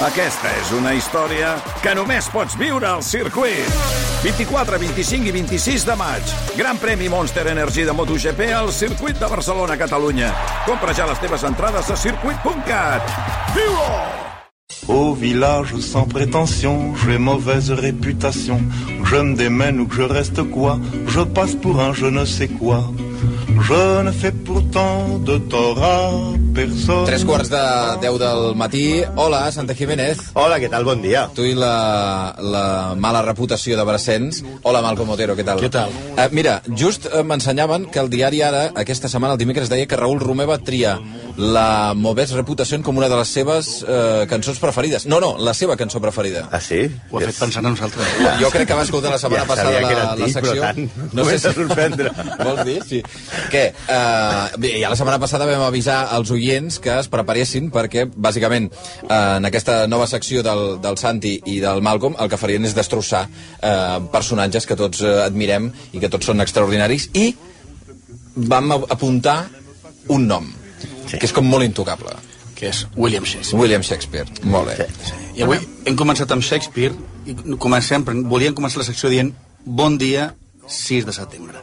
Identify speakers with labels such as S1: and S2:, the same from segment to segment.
S1: Aquesta és una història que només pots viure al circuit. 24, 25 i 26 de maig. Gran premi Monster Energy de MotoGP al circuit de Barcelona, Catalunya. Compra ja les teves entrades a circuit.cat. viu -ho!
S2: Au village sans prétention, j'ai mauvaise réputation. Que Je me démène ou que je reste quoi Je passe pour un je ne sais quoi. Je ne fais pourtant de tort à personne.
S3: Tres quarts de 10 del matí. Hola, Santa Jiménez.
S4: Hola, què tal? Bon dia.
S3: Tu i la, la mala reputació de Brassens. Hola, Malcom Otero, què tal?
S4: Què tal?
S3: Eh, mira, just eh, m'ensenyaven que el diari Ara, aquesta setmana, el dimecres, deia que Raül Romer va triar la Movés Reputació com una de les seves eh, cançons preferides. No, no, la seva cançó preferida.
S4: Ah, sí?
S5: Ho ha fet pensant a nosaltres.
S3: Jo crec que va escoltar la setmana
S4: Ja
S3: passada
S4: sabia
S3: la,
S4: que era
S3: la
S4: antic,
S3: secció.
S4: però tant. Comença a sorprendre.
S3: Vols dir? Sí. Què? Uh, bé, ja la setmana passada vam avisar als oients que es preparessin perquè, bàsicament, uh, en aquesta nova secció del, del Santi i del Malcolm, el que farien és destrossar uh, personatges que tots uh, admirem i que tots són extraordinaris i vam a- apuntar un nom, sí. que és com molt intocable.
S5: Que és William Shakespeare.
S3: William Shakespeare. Molt bé. Sí.
S5: I avui hem començat amb Shakespeare i comencem, però volíem començar la secció dient bon dia 6 de setembre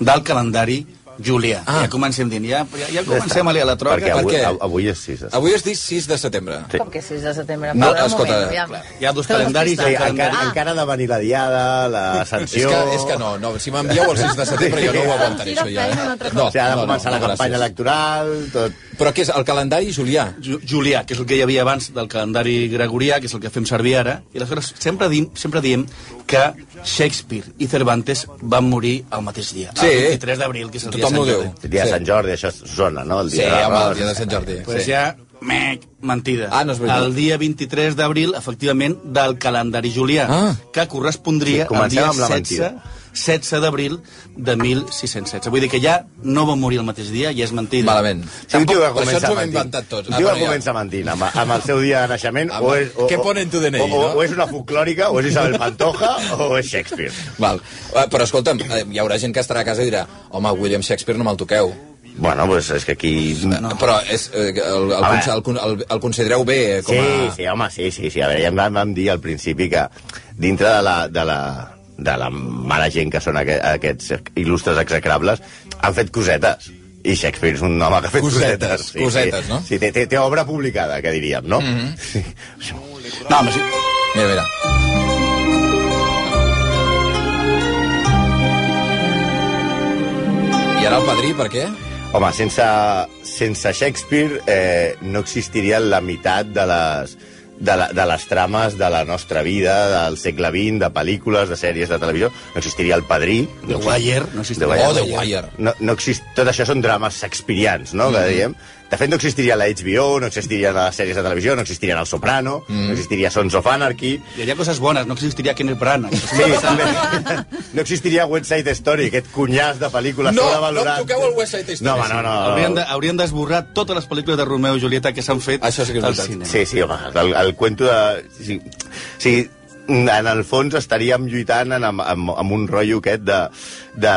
S5: del calendari julià.
S3: Ah.
S5: Ah. Ja comencem dient, ja, ja, ja comencem a la troca.
S4: Perquè
S3: per
S4: avui,
S3: què?
S4: av- avui és 6.
S3: Avui és 6 de setembre.
S4: Sí.
S6: Com que 6 de setembre?
S3: No,
S6: Perdona un
S3: escolta,
S6: moment, aviam.
S5: clar, hi ha dos
S6: Esteu
S5: calendaris,
S4: Sí,
S6: despistats.
S4: encara,
S6: Ah,
S4: encara ha de venir la diada,
S3: És
S4: l'ascensió...
S3: que, és que no, no, si m'envieu el 6 de setembre jo no ho aguantaré, això ja. eh?
S6: Feina una altra
S3: No,
S4: O sigui, ha de
S3: no, no,
S4: començar
S3: no,
S4: la campanya
S3: gràcies.
S4: electoral, tot...
S3: Però què és, el calendari julià?
S5: Ju- Julià, que és el que hi havia abans del calendari gregorià, que és el que fem servir ara, i aleshores sempre diem, sempre diem que Shakespeare i Cervantes van morir el mateix dia,
S3: Sí.
S5: el 23 d'abril, que és el dia de
S3: Tothom ho
S5: Sant
S3: diu.
S5: Jordi.
S4: El dia
S3: Sí.
S4: de Sant Jordi, això zona, no? El
S3: Sí,
S4: dia de
S3: home, el
S4: l'arròs.
S3: dia de Sant Jordi.
S5: Pues
S3: sí.
S5: ja, mec, mentida.
S3: Ah, no és veritat.
S5: El dia 23 d'abril, efectivament, del calendari julià,
S3: Ah.
S5: que correspondria
S4: Sí,
S5: al
S4: comencem
S5: dia
S4: amb la
S5: 16, 16 d'abril de 1616. Vull dir que ja no va morir el mateix dia, ja és mentida.
S3: Malament.
S4: Sí, un tio que
S3: Però això
S4: comença
S3: ens ho hem
S4: mentint.
S3: inventat tots.
S4: Un
S3: Ah,
S4: tio
S3: bueno,
S4: que
S3: ja.
S4: comença mentint amb, amb el seu dia de naixement.
S3: Amb-
S4: o és, o,
S3: Què
S4: o-
S3: ponen tu DNI,
S4: o, o,
S3: no?
S4: o és una folclòrica, o és Isabel Pantoja, o és Shakespeare.
S3: Val. Eh, Però escolta'm, eh, hi haurà gent que estarà a casa i dirà home, William Shakespeare no me'l toqueu.
S4: Bueno, pues és que aquí...
S3: No. Però és, eh, el, el,
S4: Home.
S3: conse- el, con- el, el considereu bé eh, com
S4: Sí,
S3: a...
S4: sí, home, sí, sí, sí. A veure, ja em vam, vam dir al principi que dintre de la, de la, de la mala gent que són aquest, aquests il·lustres execrables, han fet cosetes. I Shakespeare és un home que ha fet
S3: Cosetes,
S4: cosetes.
S3: cosetes,
S4: sí.
S3: no? Mhm.
S4: Sí, té, té, té obra publicada, que diríem, no? Mm -hmm. sí.
S5: No, home, sí.
S3: Mira, mira. I ara el padrí, per què?
S4: Home, sense, sense Shakespeare eh, no existiria la meitat de les, de, la, de les trames de la nostra vida, del segle XX, de pel·lícules, de sèries de televisió. No existiria El Padrí.
S5: The
S4: no existi-
S5: Wire, no existiria.
S3: Oh, The Wire. Mm-hmm.
S4: No, no exist... Tot això són drames shakespearians, no?, que diem. De fet, no existiria la HBO, no existirien les sèries de televisió, no existirien El Soprano,
S3: Mm-hmm.
S4: no existiria Sons of Anarchy,
S5: Hi ha coses bones, no existiria Kenneth Branagh.
S4: Sí, també. No existiria West Side Story, aquest cunyàs de pel·lícules
S3: No,
S4: sobrevalorat.
S3: no em toqueu el West Side Story.
S4: No, home, no, no. no.
S5: Haurien de- Haurien d'esborrar totes les pel·lícules de Romeo i Julieta que s'han fet
S3: Això sí que és
S5: al
S3: veritat.
S5: cinema.
S4: Sí, sí, home, el, el cuento de... Sí, sí, en el fons estaríem lluitant en, amb, amb, amb un rotllo aquest de, de,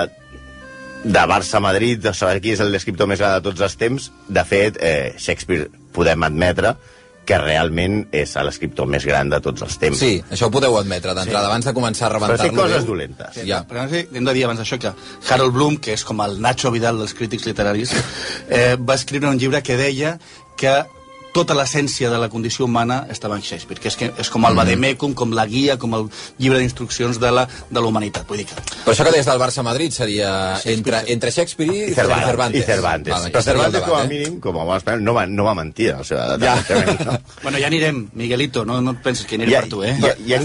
S4: de Barça-Madrid, de saber qui és el descriptor més gran de tots els temps. De fet, eh, Shakespeare podem admetre que realment és l'escriptor més gran de tots els temps.
S3: Sí, això ho podeu admetre d'entrada, abans de començar a
S4: Però
S3: rebentar-lo.
S4: té coses
S3: bé.
S4: dolentes.
S3: Ja.
S5: Però no sé, hem de dir abans d'això que Harold Bloom, que és com el Nacho Vidal dels crítics literaris, eh, va escriure un llibre que deia que tota l'essència de la condició humana estava en Shakespeare, que és, que és com el Vademecum, com la guia, com el llibre d'instruccions de la, de la humanitat. Vull dir que...
S3: Però això que deies del Barça-Madrid seria entre, entre Shakespeare i,
S4: I Cervantes.
S3: Cervantes.
S4: I Cervantes.
S3: Val, aquí
S4: Però
S3: estaria el
S4: Cervantes,
S3: debat,
S4: com a
S3: eh?
S4: mínim, com a bon espanyol, no va, no va mentir a la seva
S3: Ja.
S4: edat. evidentment, No?
S5: Bueno, ja anirem, Miguelito, no, no et penses que aniré ja, per tu, eh?
S4: Ja, ja,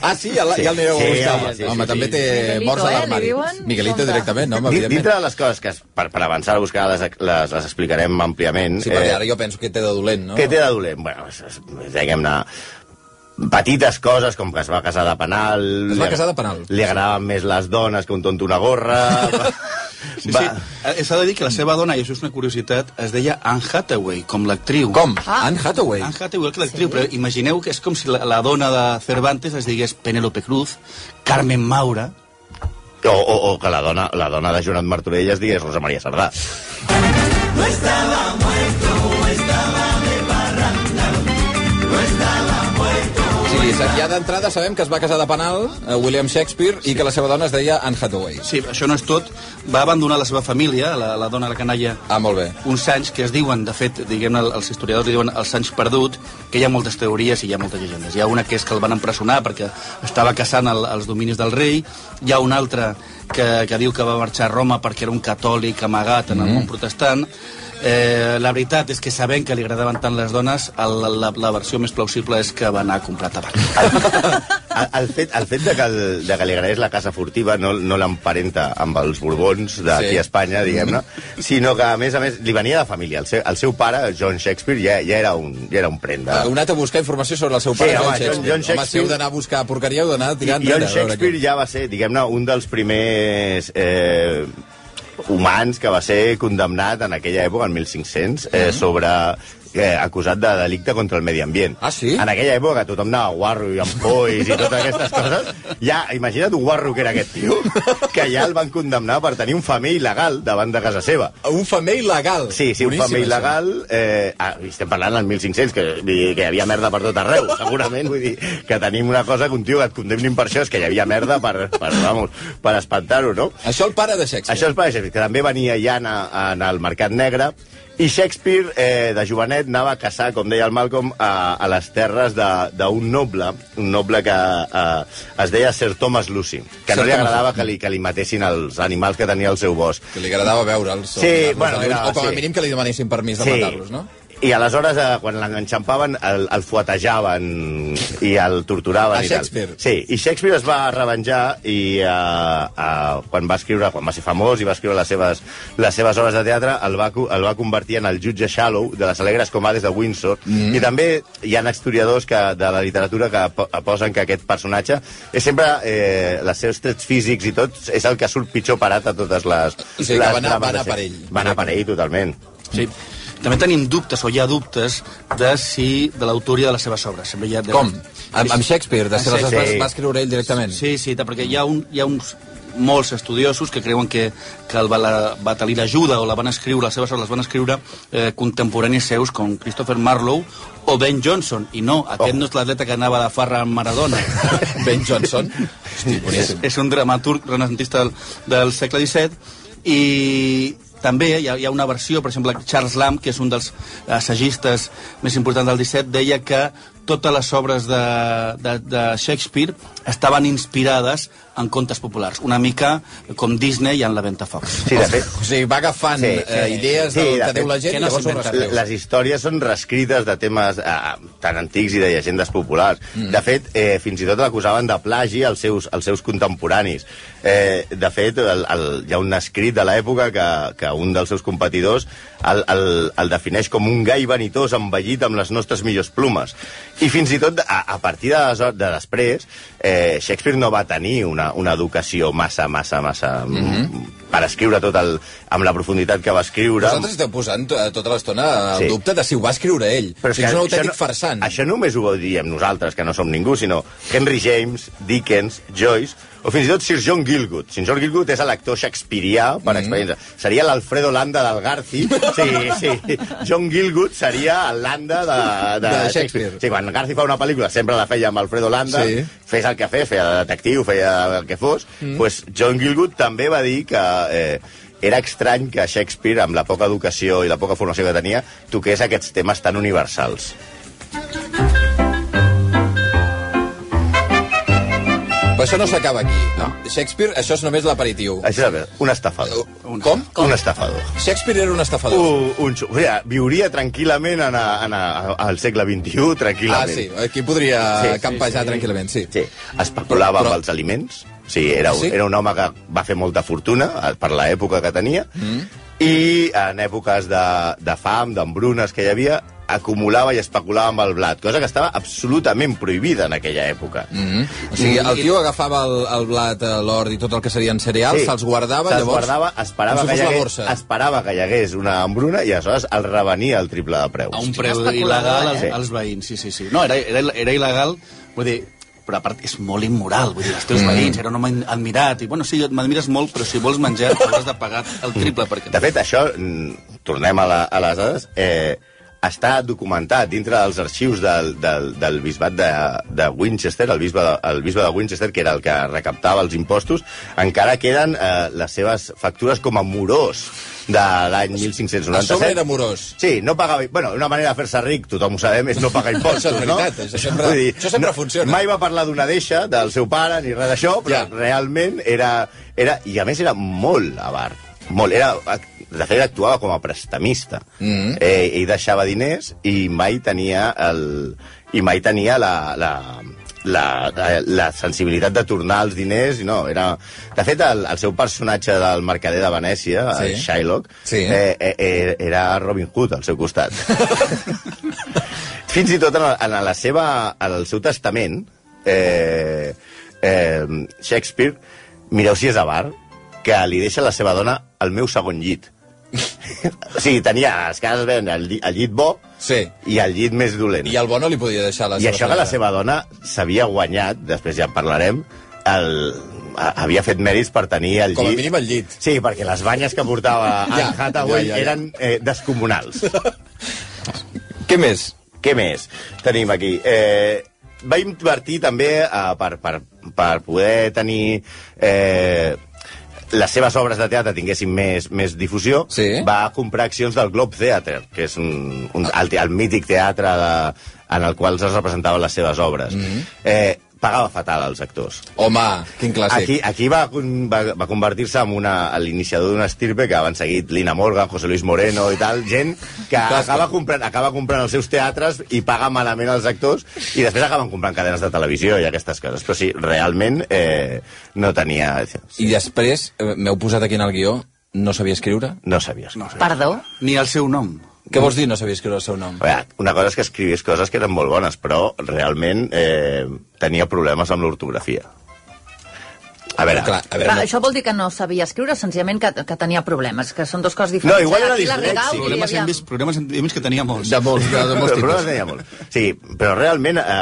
S3: Ah, sí, ja, la- ja el anireu a
S4: Sí,
S3: buscar.
S4: home, sí,
S3: home,
S4: sí,
S3: també
S4: sí.
S3: té
S6: Miguelito,
S3: morts a
S6: eh,
S3: l'armari.
S6: li diuen?
S3: Miguelito
S6: Compte.
S3: directament, no? home,
S4: Di- Dintre
S3: Evidentment.
S4: de les coses que es, per, per avançar a buscar les, les, les explicarem àmpliament.
S3: Sí, perquè ara jo penso que té de dolent, no?
S4: Què eh, té de dolent? Bueno, és- és- diguem-ne, petites coses, com que es va casar de penal...
S3: Es va
S4: li-
S3: casar de penal.
S4: Li agradaven més les dones que un tonto una gorra... va-
S5: Sí, sí. Eh, S'ha de dir que la seva dona, i això és una curiositat, es deia Anne Hathaway, com l'actriu.
S3: Com?
S6: Ah.
S3: Anne Hathaway.
S5: Anne Hathaway, que l'actriu, però imagineu que és com si la, la dona de Cervantes es digués Penélope Cruz, Carmen Maura...
S4: O, o, o que la dona, la dona de Joanot Martorell es digués Rosa Maria Sardà.
S3: sí, ja d'entrada sabem que es va casar de penal eh, William Shakespeare i que la seva dona es deia Anne Hathaway.
S5: Sí, això no és tot. Va abandonar la seva família, la, la dona, la canalla,
S3: Ah, molt bé.
S5: uns anys que es diuen, de fet, diguem els historiadors li diuen els anys perdut, que hi ha moltes teories i hi ha moltes llegendes. Hi ha una que és que el van empresonar perquè estava caçant el, els dominis del rei, hi ha una altra que, que diu que va marxar a Roma perquè era un catòlic amagat en el
S3: Mm-hmm.
S5: món protestant, Eh, la veritat és que sabent que li agradaven tant les dones, el, la, la versió més plausible és que va anar a comprar tabac.
S4: El, el, fet, el fet de que, el, de que li agradés la casa furtiva no, no l'emparenta amb els borbons
S3: Sí.
S4: d'aquí sí. a Espanya, diguem-ne, sinó que, a més a més, li venia de família. El seu, el seu pare, John Shakespeare, ja, ja, era, un, ja era un prenda.
S3: Heu anat a buscar informació sobre el seu
S4: Ah. Sí,
S3: pare,
S4: home,
S3: John,
S4: John-
S3: Shakespeare.
S4: John
S3: Home, si
S4: Shakespeare-
S3: heu d'anar a buscar porqueria, heu d'anar
S4: I,
S3: tirant
S4: John
S3: enrere, a veure
S4: Shakespeare
S3: què-
S4: ja va ser, diguem-ne, un dels primers eh, humans que va ser condemnat en aquella època, en 1500, eh,
S3: Mm-hmm.
S4: sobre eh, acusat de delicte contra el medi ambient.
S3: Ah, sí?
S4: En aquella època tothom anava a guarro i amb polls i totes aquestes coses. Ja, imagina't un guarro que era aquest tio, que ja el van condemnar per tenir un femer il·legal davant de casa seva.
S3: Un femer il·legal.
S4: Sí, sí, un
S3: Boníssim,
S4: femer
S3: això.
S4: il·legal. Eh, ah, estem parlant del 1500, que, vull dir, que hi havia merda per tot arreu, segurament. Vull dir que tenim una cosa que un tio que et condemnin per això és que hi havia merda per, per, vamos, per espantar-ho, no?
S3: Això el pare de Shakespeare.
S4: Això és per Shakespeare, que també venia ja en, en el mercat negre. I Shakespeare, eh, de jovenet, anava a caçar, com deia el Malcolm, a, a les terres de- d'un noble, un noble que eh, es deia Sir Thomas Lucy, que no
S3: Sir
S4: li
S3: Thomas
S4: agradava que li, que li matessin els animals que tenia al seu bosc.
S3: Que li agradava veure'ls. o
S4: Sí,
S3: mirar-los
S4: bueno,
S3: de lluny,
S4: era-
S3: O com a
S4: sí.
S3: mínim que li demanessin permís de matar-los, no?
S4: I aleshores, eh, quan l'enxampaven, el, el fuetejaven i el
S3: A
S4: torturaven. i tal.
S3: Shakespeare.
S4: Sí, i Shakespeare es va revenjar i eh, eh, quan va escriure, quan va ser famós i va escriure les seves, les seves obres de teatre, el va, co- el va convertir en el jutge Shallow de les alegres comades de Windsor. Mm. I també hi ha historiadors que, de la literatura que po- posen que aquest personatge és sempre, eh, els seus trets físics i tot, és el que surt pitjor parat a totes les...
S3: O sigui, que
S4: les
S3: va anar- va
S4: drames de
S3: anar per
S4: Shakespeare.
S3: ell.
S4: Va anar per ell, totalment.
S5: Sí. També tenim dubtes, o hi ha dubtes, de si de l'autoria de les seves obres. Sempre hi ha...
S3: Com? Amb, amb Shakespeare, de
S5: Amb
S3: ser les
S5: Shakespeare.
S3: va, va escriure ell directament.
S5: Sí, sí, ta- perquè hi ha, un, hi ha uns molts estudiosos que creuen que, que el Bala- Batalí l'ajuda o la van escriure, les seves obres les van escriure eh, contemporanis seus com Christopher Marlowe o Ben Johnson. I no, aquest
S4: Oh.
S5: no és l'atleta que anava de farra amb Maradona.
S3: Ben Johnson. Hosti,
S5: és,
S3: boníssim.
S5: és un dramaturg renacentista del, del segle XVII i també hi ha, hi ha una versió, per exemple, Charles Lamb, que és un dels assagistes més importants del XVII, deia que totes les obres de, de, de Shakespeare estaven inspirades en contes populars, una mica com Disney i en la Ventafocs.
S4: Sí, de fet,
S3: O sigui, va agafant
S4: Sí,
S3: sí,
S4: sí.
S3: eh, idees
S4: Sí,
S3: del
S4: de
S3: que diu
S4: fet,
S3: la gent
S5: que
S3: i
S5: no
S3: llavors ho
S5: s'inventen
S3: rascleu.
S4: les històries són reescrites de temes eh, tan antics i de llegendes populars. Mm. De fet, eh, fins i tot l'acusaven de plagi als seus, als seus contemporanis. Eh, de fet, el, el, hi ha un escrit de l'època que, que un dels seus competidors el, el, el defineix com un gai vanitós envellit amb les nostres millors plumes. I fins i tot, a, a partir de, les, de després, eh, Shakespeare no va tenir una, una educació massa, massa, massa... Mm -hmm. per escriure tot el, amb la profunditat que va escriure.
S3: Vosaltres esteu posant eh, tota l'estona el
S4: Sí.
S3: dubte de si ho va escriure ell. Però
S4: és
S3: si és un
S4: que
S3: autèntic
S4: no-
S3: farsant.
S4: Això només ho diem nosaltres, que no som ningú, sinó Henry James, Dickens, Joyce, o fins i tot Sir John Gilgood. Sir John Gilgood és l'actor shakespearià, per mm. experiència. Seria l'Alfredo Landa del Garci. Sí, sí. John Gilgood seria el Landa de, de,
S3: De Shakespeare.
S4: Sí, quan Garci fa una pel·lícula sempre la feia amb Alfredo Landa,
S3: Sí.
S4: sí. fes el que fes, feia de detectiu, feia el que fos. Mm. Pues John Gilgood també va dir que... Eh, era estrany que Shakespeare, amb la poca educació i la poca formació que tenia, toqués aquests temes tan universals.
S3: Però això no s'acaba aquí. No. Shakespeare, això és només l'aperitiu.
S4: Això és a veure, un estafador.
S3: Com?
S4: Com? Un estafador.
S3: Shakespeare era un estafador.
S4: Un, un, xu- o sigui, viuria tranquil·lament en, a, en a, al segle XXI,
S3: ah,
S4: tranquil·lament.
S3: sí, aquí podria
S4: Sí, sí,
S3: campejar tranquil·lament, sí.
S4: Sí, especulava
S3: Però- però-
S4: amb els aliments. Sí, era, un,
S3: Sí?
S4: era un home que va fer molta fortuna eh, per l'època que tenia. Mm. I en èpoques de, de fam, d'embrunes que hi havia, acumulava i especulava amb el blat, cosa que estava absolutament prohibida en aquella època. Mm.
S3: O sigui, el tio agafava el, el blat, eh, l'or i tot el que serien cereals, se'ls guardava,
S4: se'ls
S3: llavors...
S4: guardava, esperava,
S3: com
S4: que
S3: si
S4: hi
S3: fos la
S4: hagués,
S3: borsa.
S4: esperava que hi hagués una embruna i aleshores el revenia al triple de preus.
S5: A un preu
S6: especulador,
S5: il·legal als,
S4: eh?
S5: als veïns, sí, sí, sí. No, era, era, era il·legal, vull dir, però a part és molt immoral, vull dir, els teus veïns, era un home admirat, i bueno, sí, m'admires molt, però si vols menjar hauràs de pagar el triple perquè...
S4: De fet, això, mm, tornem a, la, a les dades, eh, està documentat dintre dels arxius del, del, del bisbat de, de Winchester, el bisbe de, el bisbe de Winchester, que era el que recaptava els impostos, encara queden eh, les seves factures com a morós de
S3: A
S4: l'any 1597.
S3: sobre era morós.
S4: Sí, no paga... Bueno, una manera de fer-se ric, tothom ho sabem, és no pagar impostos,
S3: Això és veritat,
S4: no?
S3: això sempre- això sempre funciona.
S4: Mai va parlar d'una deixa, del seu pare, ni res d'això, però
S3: Ja.
S4: ja. realment era, era... I a més era molt avar, molt. Era, de fet, actuava com a prestamista. Mm -hmm. eh, ell deixava diners i mai tenia el... i mai tenia la... la la, la, la sensibilitat de tornar els diners i no, era... De fet, el, el seu personatge del mercader de Venècia, sí. el
S3: Sí.
S4: Shylock,
S3: Sí.
S4: eh, eh, eh, era Robin Hood al seu costat. Fins i tot en, en, la seva, en el seu testament, eh, eh, Shakespeare, mireu si és avar, que li deixa la seva dona al meu segon llit. o sigui, tenia a les cases veien el, lli- el llit bo
S3: Sí.
S4: i el llit més dolent.
S3: I el bo no li podia deixar la
S4: I això que la
S3: senyora.
S4: seva dona s'havia guanyat, després ja en parlarem, el, a- havia fet mèrits per tenir el
S3: Com a
S4: llit...
S3: mínim el llit.
S4: Sí, perquè les banyes que portava ja,
S3: Ja,
S4: en
S3: ja,
S4: Hathaway ja,
S3: ja, ja.
S4: ja, eren eh, descomunals.
S3: Què més?
S4: Què més tenim aquí? Eh, va invertir també eh, per, per, per poder tenir... Eh, les seves obres de teatre tinguessin més, més difusió,
S3: Sí.
S4: va comprar accions del Globe Theatre, que és un, un, el, te- el mític teatre de, en el qual es representaven les seves obres. Mm
S3: Mhm.
S4: -hmm. eh, pagava fatal als actors.
S3: Home, quin clàssic.
S4: Aquí, aquí va, con- va, va convertir-se en una, en l'iniciador d'una estirpe que van seguit Lina Morgan, José Luis Moreno i tal, gent que acaba comprant, acaba comprant els seus teatres i paga malament als actors i després acaben comprant cadenes de televisió i aquestes coses. Però sí, realment eh, no tenia...
S3: I després, eh, m'heu posat aquí en el guió, no sabia escriure?
S4: No sabies. No.
S5: No,
S6: Perdó?
S5: ni el seu nom.
S3: Què vols dir no sabia escriure el seu nom?
S4: Una cosa és que escrivies coses que eren molt bones, però realment eh, tenia problemes amb l'ortografia. A veure...
S3: Clar, a
S6: Però
S3: veure, no,
S6: això vol dir que no sabia escriure, senzillament que, que tenia problemes, que són dos coses diferents.
S4: No, igual era
S6: Aquí la
S4: dislèxic.
S6: regau
S4: Problemes
S6: i
S5: Problemes,
S6: aviam.
S5: hem vist, problemes hem vist que tenia molts.
S3: de molts, de, de molts
S4: Però
S3: tipus.
S4: problemes n'hi ha molt. Sí, però realment eh,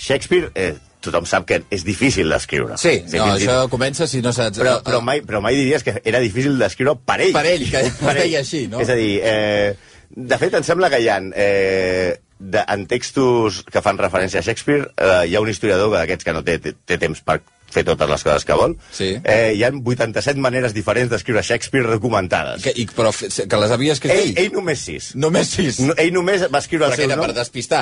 S4: Shakespeare, eh, tothom sap que és difícil d'escriure.
S3: Sí, no,
S4: fins i
S3: això
S4: tot-
S3: comença si no saps... eh,
S4: Però, però, mai, però mai diries que era difícil d'escriure per ell.
S3: Per ell, que es deia així, no?
S4: És a dir, eh, de fet, em sembla que hi ha... Eh, de, en textos que fan referència a Shakespeare, eh, hi ha un historiador que d'aquests que no té, té, té temps per fer totes les coses que vol.
S3: Sí.
S4: Eh, hi ha 87 maneres diferents d'escriure Shakespeare documentades.
S3: Que, i, però fe- que les havia escrit
S4: Ell,
S3: ell?
S4: ell només sis.
S3: Només sis.
S4: No, ell només va escriure el
S3: però que
S4: seu
S3: era
S4: nom.
S3: per despistar.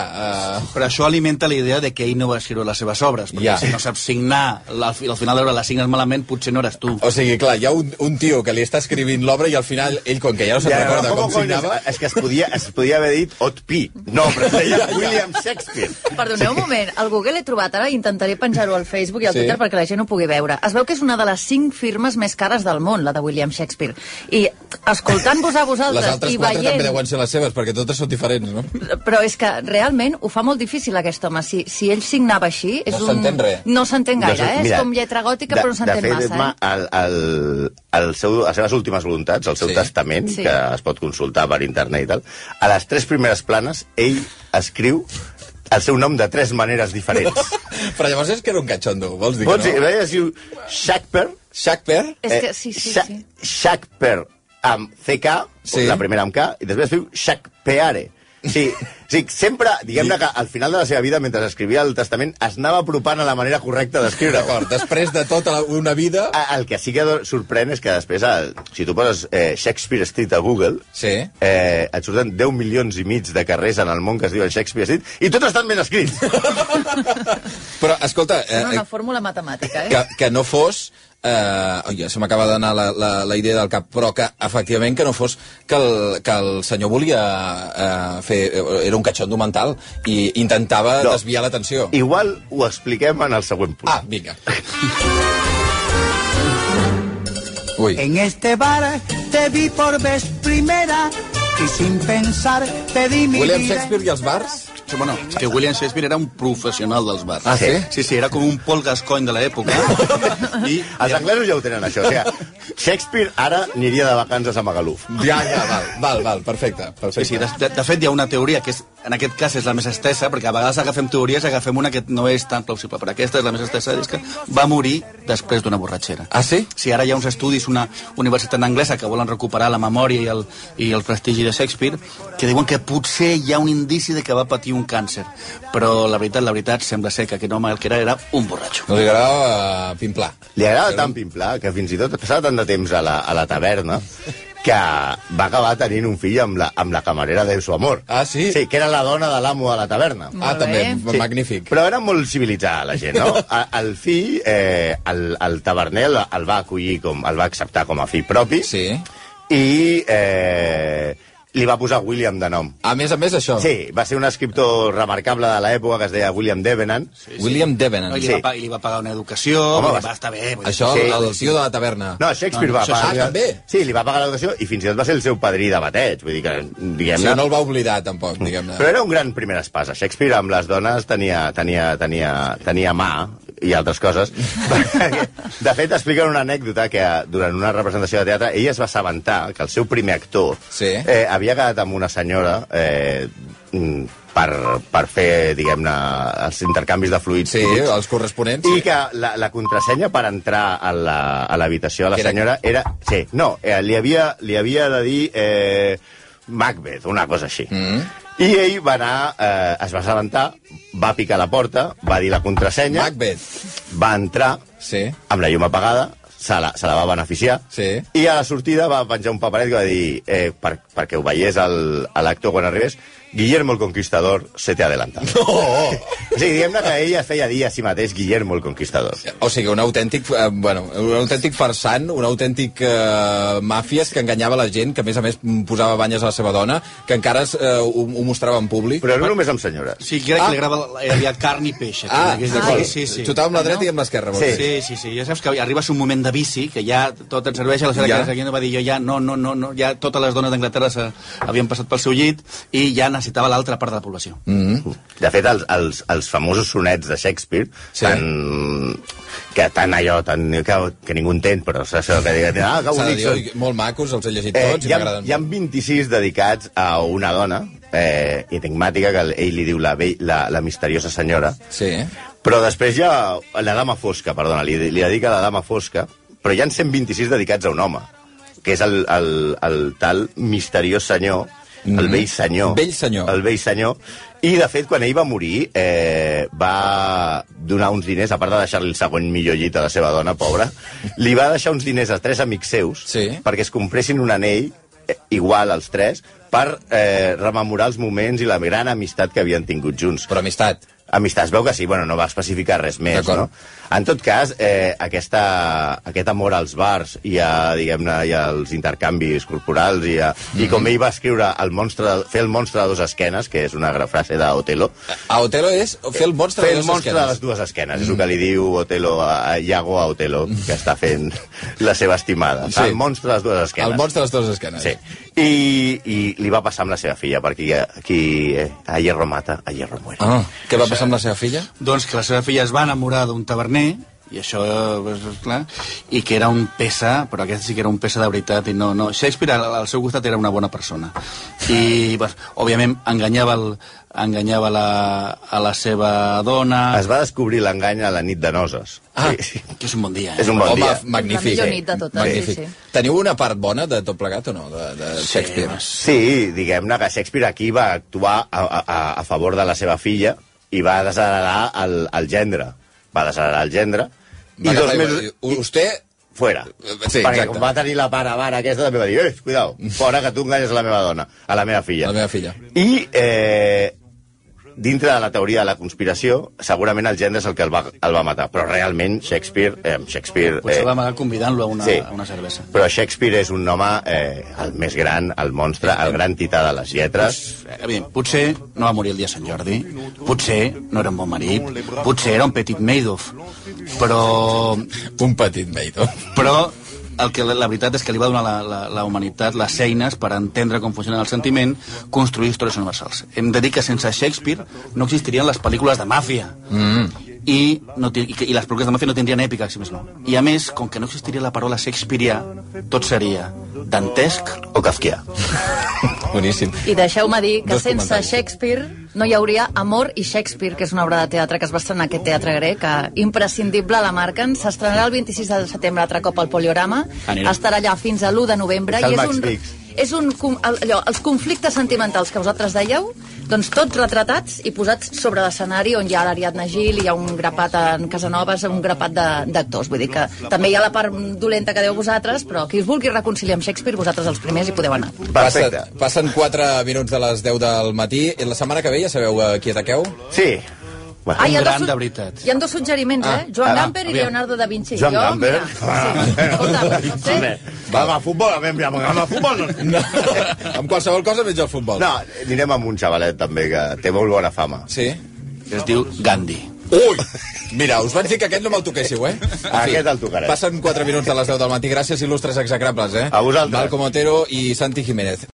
S3: Uh,
S5: Però això alimenta la idea de que ell no va escriure les seves obres, perquè
S3: Ja.
S5: ja. si no saps signar, la, al final de l'hora la signes malament, potser no eres tu.
S3: o sigui, clar, hi ha un, un tio que li està escrivint l'obra i al final ell, com que ja no se'n
S4: Ja,
S3: recorda
S4: no,
S3: com
S4: com
S3: signava...
S4: Es, és que es podia, es podia haver dit Ot Pi. No, però es deia William Shakespeare.
S6: Perdoneu un moment, al Google he trobat ara, intentaré penjar-ho al Facebook i al
S3: Sí.
S6: sí. Twitter perquè la gent ho pugui veure. Es veu que és una de les cinc firmes més cares del món, la de William Shakespeare. I escoltant-vos a
S3: Les
S6: vosaltres
S3: altres
S6: i
S3: quatre també
S6: veient...
S3: deuen ser les seves, perquè totes són diferents, no?
S6: Però és que realment ho fa molt difícil aquest home. Si, si ell signava així... És
S3: No
S6: un...
S3: s'entén res.
S6: No s'entén gaire,
S4: Doncs,
S6: eh?
S4: mira,
S6: és com lletra gòtica,
S4: de-
S6: però no s'entén
S4: De fet,
S6: massa.
S4: Edma,
S6: Eh?
S4: el, el, el seu, les seves últimes voluntats, el seu
S3: Sí.
S4: sí. testament,
S6: Sí.
S4: sí. que es pot consultar per internet i tal, a les tres primeres planes, ell escriu el seu nom de tres maneres diferents.
S3: Però llavors és que era un catxondo, vols dir
S4: Pots dir, eh?
S3: que no?
S4: es diu Shakespeare,
S3: Shakespeare?
S6: eh? És que sí, sí,
S4: Eh, Sha-
S6: sí.
S4: Shakespeare amb CK,
S3: Sí.
S4: sí. la primera amb K, i després viu Shakespeare. Sí, sí, sempre, diguem-ne que al final de la seva vida, mentre escrivia el testament, es anava apropant a la manera correcta d'escriure.
S3: D'acord, després de tota la, una vida...
S4: A- El que sí que do- sorprèn és que després, el, si tu poses eh, Shakespeare Street a Google,
S3: Sí.
S4: eh, et surten 10 milions i mig de carrers en el món que es diuen Shakespeare Street, i tots estan ben escrits.
S3: Però, escolta, eh,
S6: Una fórmula matemàtica, eh?
S3: que, que no fos... Eh, oi, ja se m'acaba d'anar la, la, la idea del cap, però que, efectivament, que no fos que el, que el senyor volia eh, fer... eh, Era un catxondo mental i intentava
S4: No.
S3: desviar l'atenció.
S4: Igual ho expliquem en el següent punt.
S3: Ah, vinga. Ui.
S7: En este bar te vi por vez primera y sin pensar te di mi
S3: William
S7: vida.
S3: Shakespeare i els bars?
S5: Això, Bueno, és que William Shakespeare era un professional dels bars.
S3: Ah, sí?
S5: Sí, sí, era com un Paul Gascoigne de l'època. I
S4: Els anglesos ja ho tenen, això. O sigui, Shakespeare ara aniria de vacances a Magaluf.
S3: Ja, ja, val, val, val perfecte.
S5: Sí,
S3: perfecte.
S5: sí, de, de, de fet hi ha una teoria que és en aquest cas és la més estesa, perquè a vegades agafem teories, agafem una que no és tan plausible, però aquesta és la més estesa, és que va morir després d'una borratxera.
S3: Ah, sí?
S5: Sí, ara hi ha uns estudis, una universitat anglesa que volen recuperar la memòria i el, i el prestigi de Shakespeare, que diuen que potser hi ha un indici de que va patir un càncer, però la veritat, la veritat, sembla ser que aquest home el que era era un borratxo.
S3: No li agrada uh, pimplar.
S4: Li agrada tant pimplar que fins i tot passava tant de temps a la, a la taverna que va acabar tenint un fill amb la, amb la camarera del seu amor.
S3: Ah, sí?
S4: Sí, que era la dona de l'amo de la taverna.
S3: Ah,
S6: Molt
S3: també,
S6: bé.
S3: sí. magnífic.
S4: Però era molt civilitzada la gent, no? A- El fill, eh, el, el taverner el, el va acollir, com, el va acceptar com a fill propi
S3: Sí.
S4: i eh, li va posar William de nom.
S3: A més a més, això.
S4: Sí, va ser un escriptor remarcable de l'època que es deia William Devenant.
S3: William Devenant.
S5: No, i, li
S4: Sí.
S5: va, pa- i li va pagar una educació,
S4: Home,
S5: Home,
S4: va-
S5: va estar bé. vull dir,
S3: Això,
S4: Sí.
S3: sí. el tio de la taverna.
S4: No, Shakespeare
S5: No,
S4: va
S5: no,
S4: pagar...
S3: Shakespeare Ah, també.
S4: Sí, li va pagar l'educació i fins i tot va ser el seu padrí de bateig. Vull dir que,
S3: o
S4: diguem-ne...
S3: sigui, no el va oblidar, tampoc, diguem-ne.
S4: Però era un gran primer espasa. Shakespeare amb les dones tenia, tenia, tenia, tenia mà i altres coses. De fet, expliquen una anècdota que durant una representació de teatre ell es va assabentar que el seu primer actor
S3: Sí.
S4: eh, havia quedat amb una senyora eh, mm, per, per fer, diguem-ne, els intercanvis de fluids.
S3: Sí,
S4: químics.
S3: els corresponents.
S4: I que la, la contrasenya per entrar a la- a l'habitació de la
S3: Que era-
S4: senyora era... Sí, no, eh, li, havia, li havia de dir eh, Macbeth, una cosa així. Mm. I ell va anar, eh, es va assabentar, va picar la porta, va dir la contrasenya,
S3: Macbeth.
S4: va entrar
S3: Sí.
S4: amb la llum apagada, se la, se la va beneficiar,
S3: Sí.
S4: i a la sortida va penjar un paperet que va dir, eh, per, perquè ho veiés el- a l'actor quan arribés, Guillermo el Conquistador se te adelanta. No!
S3: Oh,
S4: O sigui, diguem-ne que ell es feia dir a si mateix Guillermo el Conquistador.
S3: O sigui, un autèntic, eh, bueno, un autèntic farsant, un autèntic eh, màfies que enganyava la gent, que a més a més mm, posava banyes a la seva dona, que encara es, eh, ho, ho mostrava en públic.
S4: Però no només amb senyores.
S5: Sí, crec
S3: Ah.
S5: que li agrada, hi havia carn i peix. eh, aquí,
S3: Ah,
S5: en aquest
S3: d'acord.
S5: cas. sí, sí.
S3: Xutar amb la dreta i amb l'esquerra. vols
S4: Ah, Sí.
S3: dir.
S5: Sí, sí, sí, ja saps que arribes a un moment de bici que ja tot et serveix, aleshores
S3: Ja.
S5: ja. que va dir jo ja no, no, no, no, ja totes les dones d'Anglaterra se- havien passat pel seu llit i ja necessitava l'altra part de la població.
S4: Mm-hmm.
S5: Mm.
S3: Mm-hmm.
S4: De fet, els, els, els famosos sonets de Shakespeare,
S3: Sí.
S4: sí. tan, que tan allò, tan, que, que ningú entén, però és això que diuen, ah,
S3: S'ha
S4: que
S3: de
S4: bonic
S3: dir,
S4: són.
S3: oi, molt macos, els he llegit
S4: Eh,
S3: tots i
S4: hi, ha,
S3: m'agraden
S4: hi ha 26 dedicats a una dona, eh, enigmàtica, que ell li diu la, vell- la, la misteriosa senyora,
S3: molt. Sí.
S4: però després hi ha la dama fosca, perdona, li, li dedica la dama fosca, però hi han 126 dedicats a un home, que és el, el, el tal misteriós senyor, el
S3: Mhm.
S4: vell senyor.
S3: Vell senyor.
S4: El vell senyor. I, de fet, quan ell va morir, eh, va donar uns diners, a part de deixar-li el segon millor llit a la seva dona, pobra, li va deixar uns diners a tres amics seus
S3: Sí.
S4: perquè es compressin un anell eh, igual als tres per eh, rememorar els moments i la gran amistat que havien tingut junts.
S3: Però amistat.
S4: Amistat, es veu que sí, bueno, no va especificar res més,
S3: D'acord.
S4: no? En tot cas, eh, aquesta, aquest amor als bars i a, diguem-ne, i als intercanvis corporals i, a, i
S3: Mhm.
S4: com ell va escriure el monstre, fer el monstre de dues esquenes, que és una gran frase d'Otelo,
S3: A Otelo és fer el monstre
S4: fer
S3: de les
S4: el monstre de les
S3: esquenes. Mhm.
S4: dues esquenes, és el que li diu Otelo a, a Iago a Otelo, que està fent la seva estimada.
S3: Sí.
S4: El monstre de les dues esquenes.
S3: El monstre de les dues esquenes.
S4: Sí. I, I li va passar amb la seva filla, perquè aquí, aquí eh, a hierro mata, a hierro muere.
S3: Ah, què va passar amb la seva filla?
S5: Doncs que la seva filla es va enamorar d'un taverner, i això eh, és clar, i que era un pesa, però aquest sí que era un pesa de veritat, i no, no. Shakespeare al, al seu costat era una bona persona. I, bé, òbviament, enganyava, el, enganyava la, a la seva dona...
S4: Es va descobrir l'engany a la nit de noces.
S3: Ah.
S4: Sí.
S5: Que és un bon dia, eh?
S4: És un bon
S3: Home,
S4: dia.
S3: magnífic.
S6: La millor nit de totes,
S3: magnífic.
S6: sí, sí.
S3: Teniu una part bona de tot plegat o no, de, de Shakespeare?
S4: Sí, diguem-ne que Shakespeare aquí va actuar a, a, a favor de la seva filla i va desheredar el, el gendre. Va desheredar el gendre.
S3: Va,
S4: I dos
S3: agafar
S4: mesos...
S3: i- Vostè...
S4: Fuera.
S3: Sí,
S4: Perquè
S3: exacte.
S4: com va tenir la para vara aquesta també va dir, eh, cuidao, fora que tu enganyes a la meva dona, a la meva filla.
S3: La meva filla.
S4: I eh, dintre de la teoria de la conspiració, segurament el gendre és el que el va, el va matar. Però realment Shakespeare... Eh, Shakespeare
S5: Potser
S4: eh,
S5: va amagar convidant-lo a, una,
S4: Sí.
S5: a una cervesa.
S4: Però Shakespeare és un home eh, el més gran, el monstre, el gran tità de les lletres.
S5: Evident, potser no va morir el dia de Sant Jordi, potser no era un bon marit, potser era un petit Madoff, però,
S3: Un petit veïdor.
S5: però el que la, la veritat és que li va donar la, la, la humanitat les eines per entendre com funciona el sentiment, construir històries universals. Hem de dir que sense Shakespeare no existirien les pel·lícules de màfia. Mm. i, no, ti- i, que- i les pel·lícules de màfia no tindrien èpica, si més no. I a més, com que no existiria la paraula Shakespearea, tot seria dantesc o kafkià.
S3: Boníssim.
S6: I deixeu-me dir que
S3: Dos
S6: sense
S3: comentaris.
S6: Shakespeare no hi hauria Amor i Shakespeare, que és una obra de teatre que es va estrenar a aquest teatre grec, que imprescindible la marquen. S'estrenarà el 26 de setembre altre cop al Poliorama.
S5: Anirem.
S6: Estarà allà fins a l'1 de novembre.
S4: És el
S6: I és
S4: Max
S6: un,
S4: Fix.
S6: és un, com- el- allò, els conflictes sentimentals que vosaltres dèieu, doncs tots retratats i posats sobre l'escenari on hi ha l'Ariadna Gil, hi ha un grapat en Casanovas, un grapat de- d'actors. Vull dir que també hi ha la part dolenta que deu vosaltres, però qui us vulgui reconciliar amb Shakespeare, vosaltres els primers hi podeu anar.
S4: Perfecte.
S3: Passa, passen 4 minuts de les 10 del matí. I la setmana que ve ja sabeu eh, qui ataqueu?
S4: Sí. Bueno,
S5: Ah,
S6: hi ha
S5: Un gran
S6: dos su-
S5: de veritat.
S6: Hi ha dos suggeriments, eh? Joan
S4: ah,
S6: Gamper i
S5: aviam. Ah.
S6: Leonardo da Vinci.
S4: Joan
S6: jo,
S4: Gamper?
S6: Mira, sí. eh? Escolta, no sé.
S4: Va, va, futbol, a veure, amb el futbol no.
S3: No, amb qualsevol cosa menys el futbol.
S4: No, anirem amb un xavalet també, que té molt bona fama.
S3: Sí?
S5: Es diu Gandhi.
S3: Ui! Mira, us vaig dir que aquest no me'l toquéssiu, eh? En
S4: Aquest el tocarem.
S3: Passen 4 minuts de les 10 del matí. Gràcies, il·lustres execrables, eh?
S4: A vosaltres.
S3: Malcom Otero i Santi Jiménez.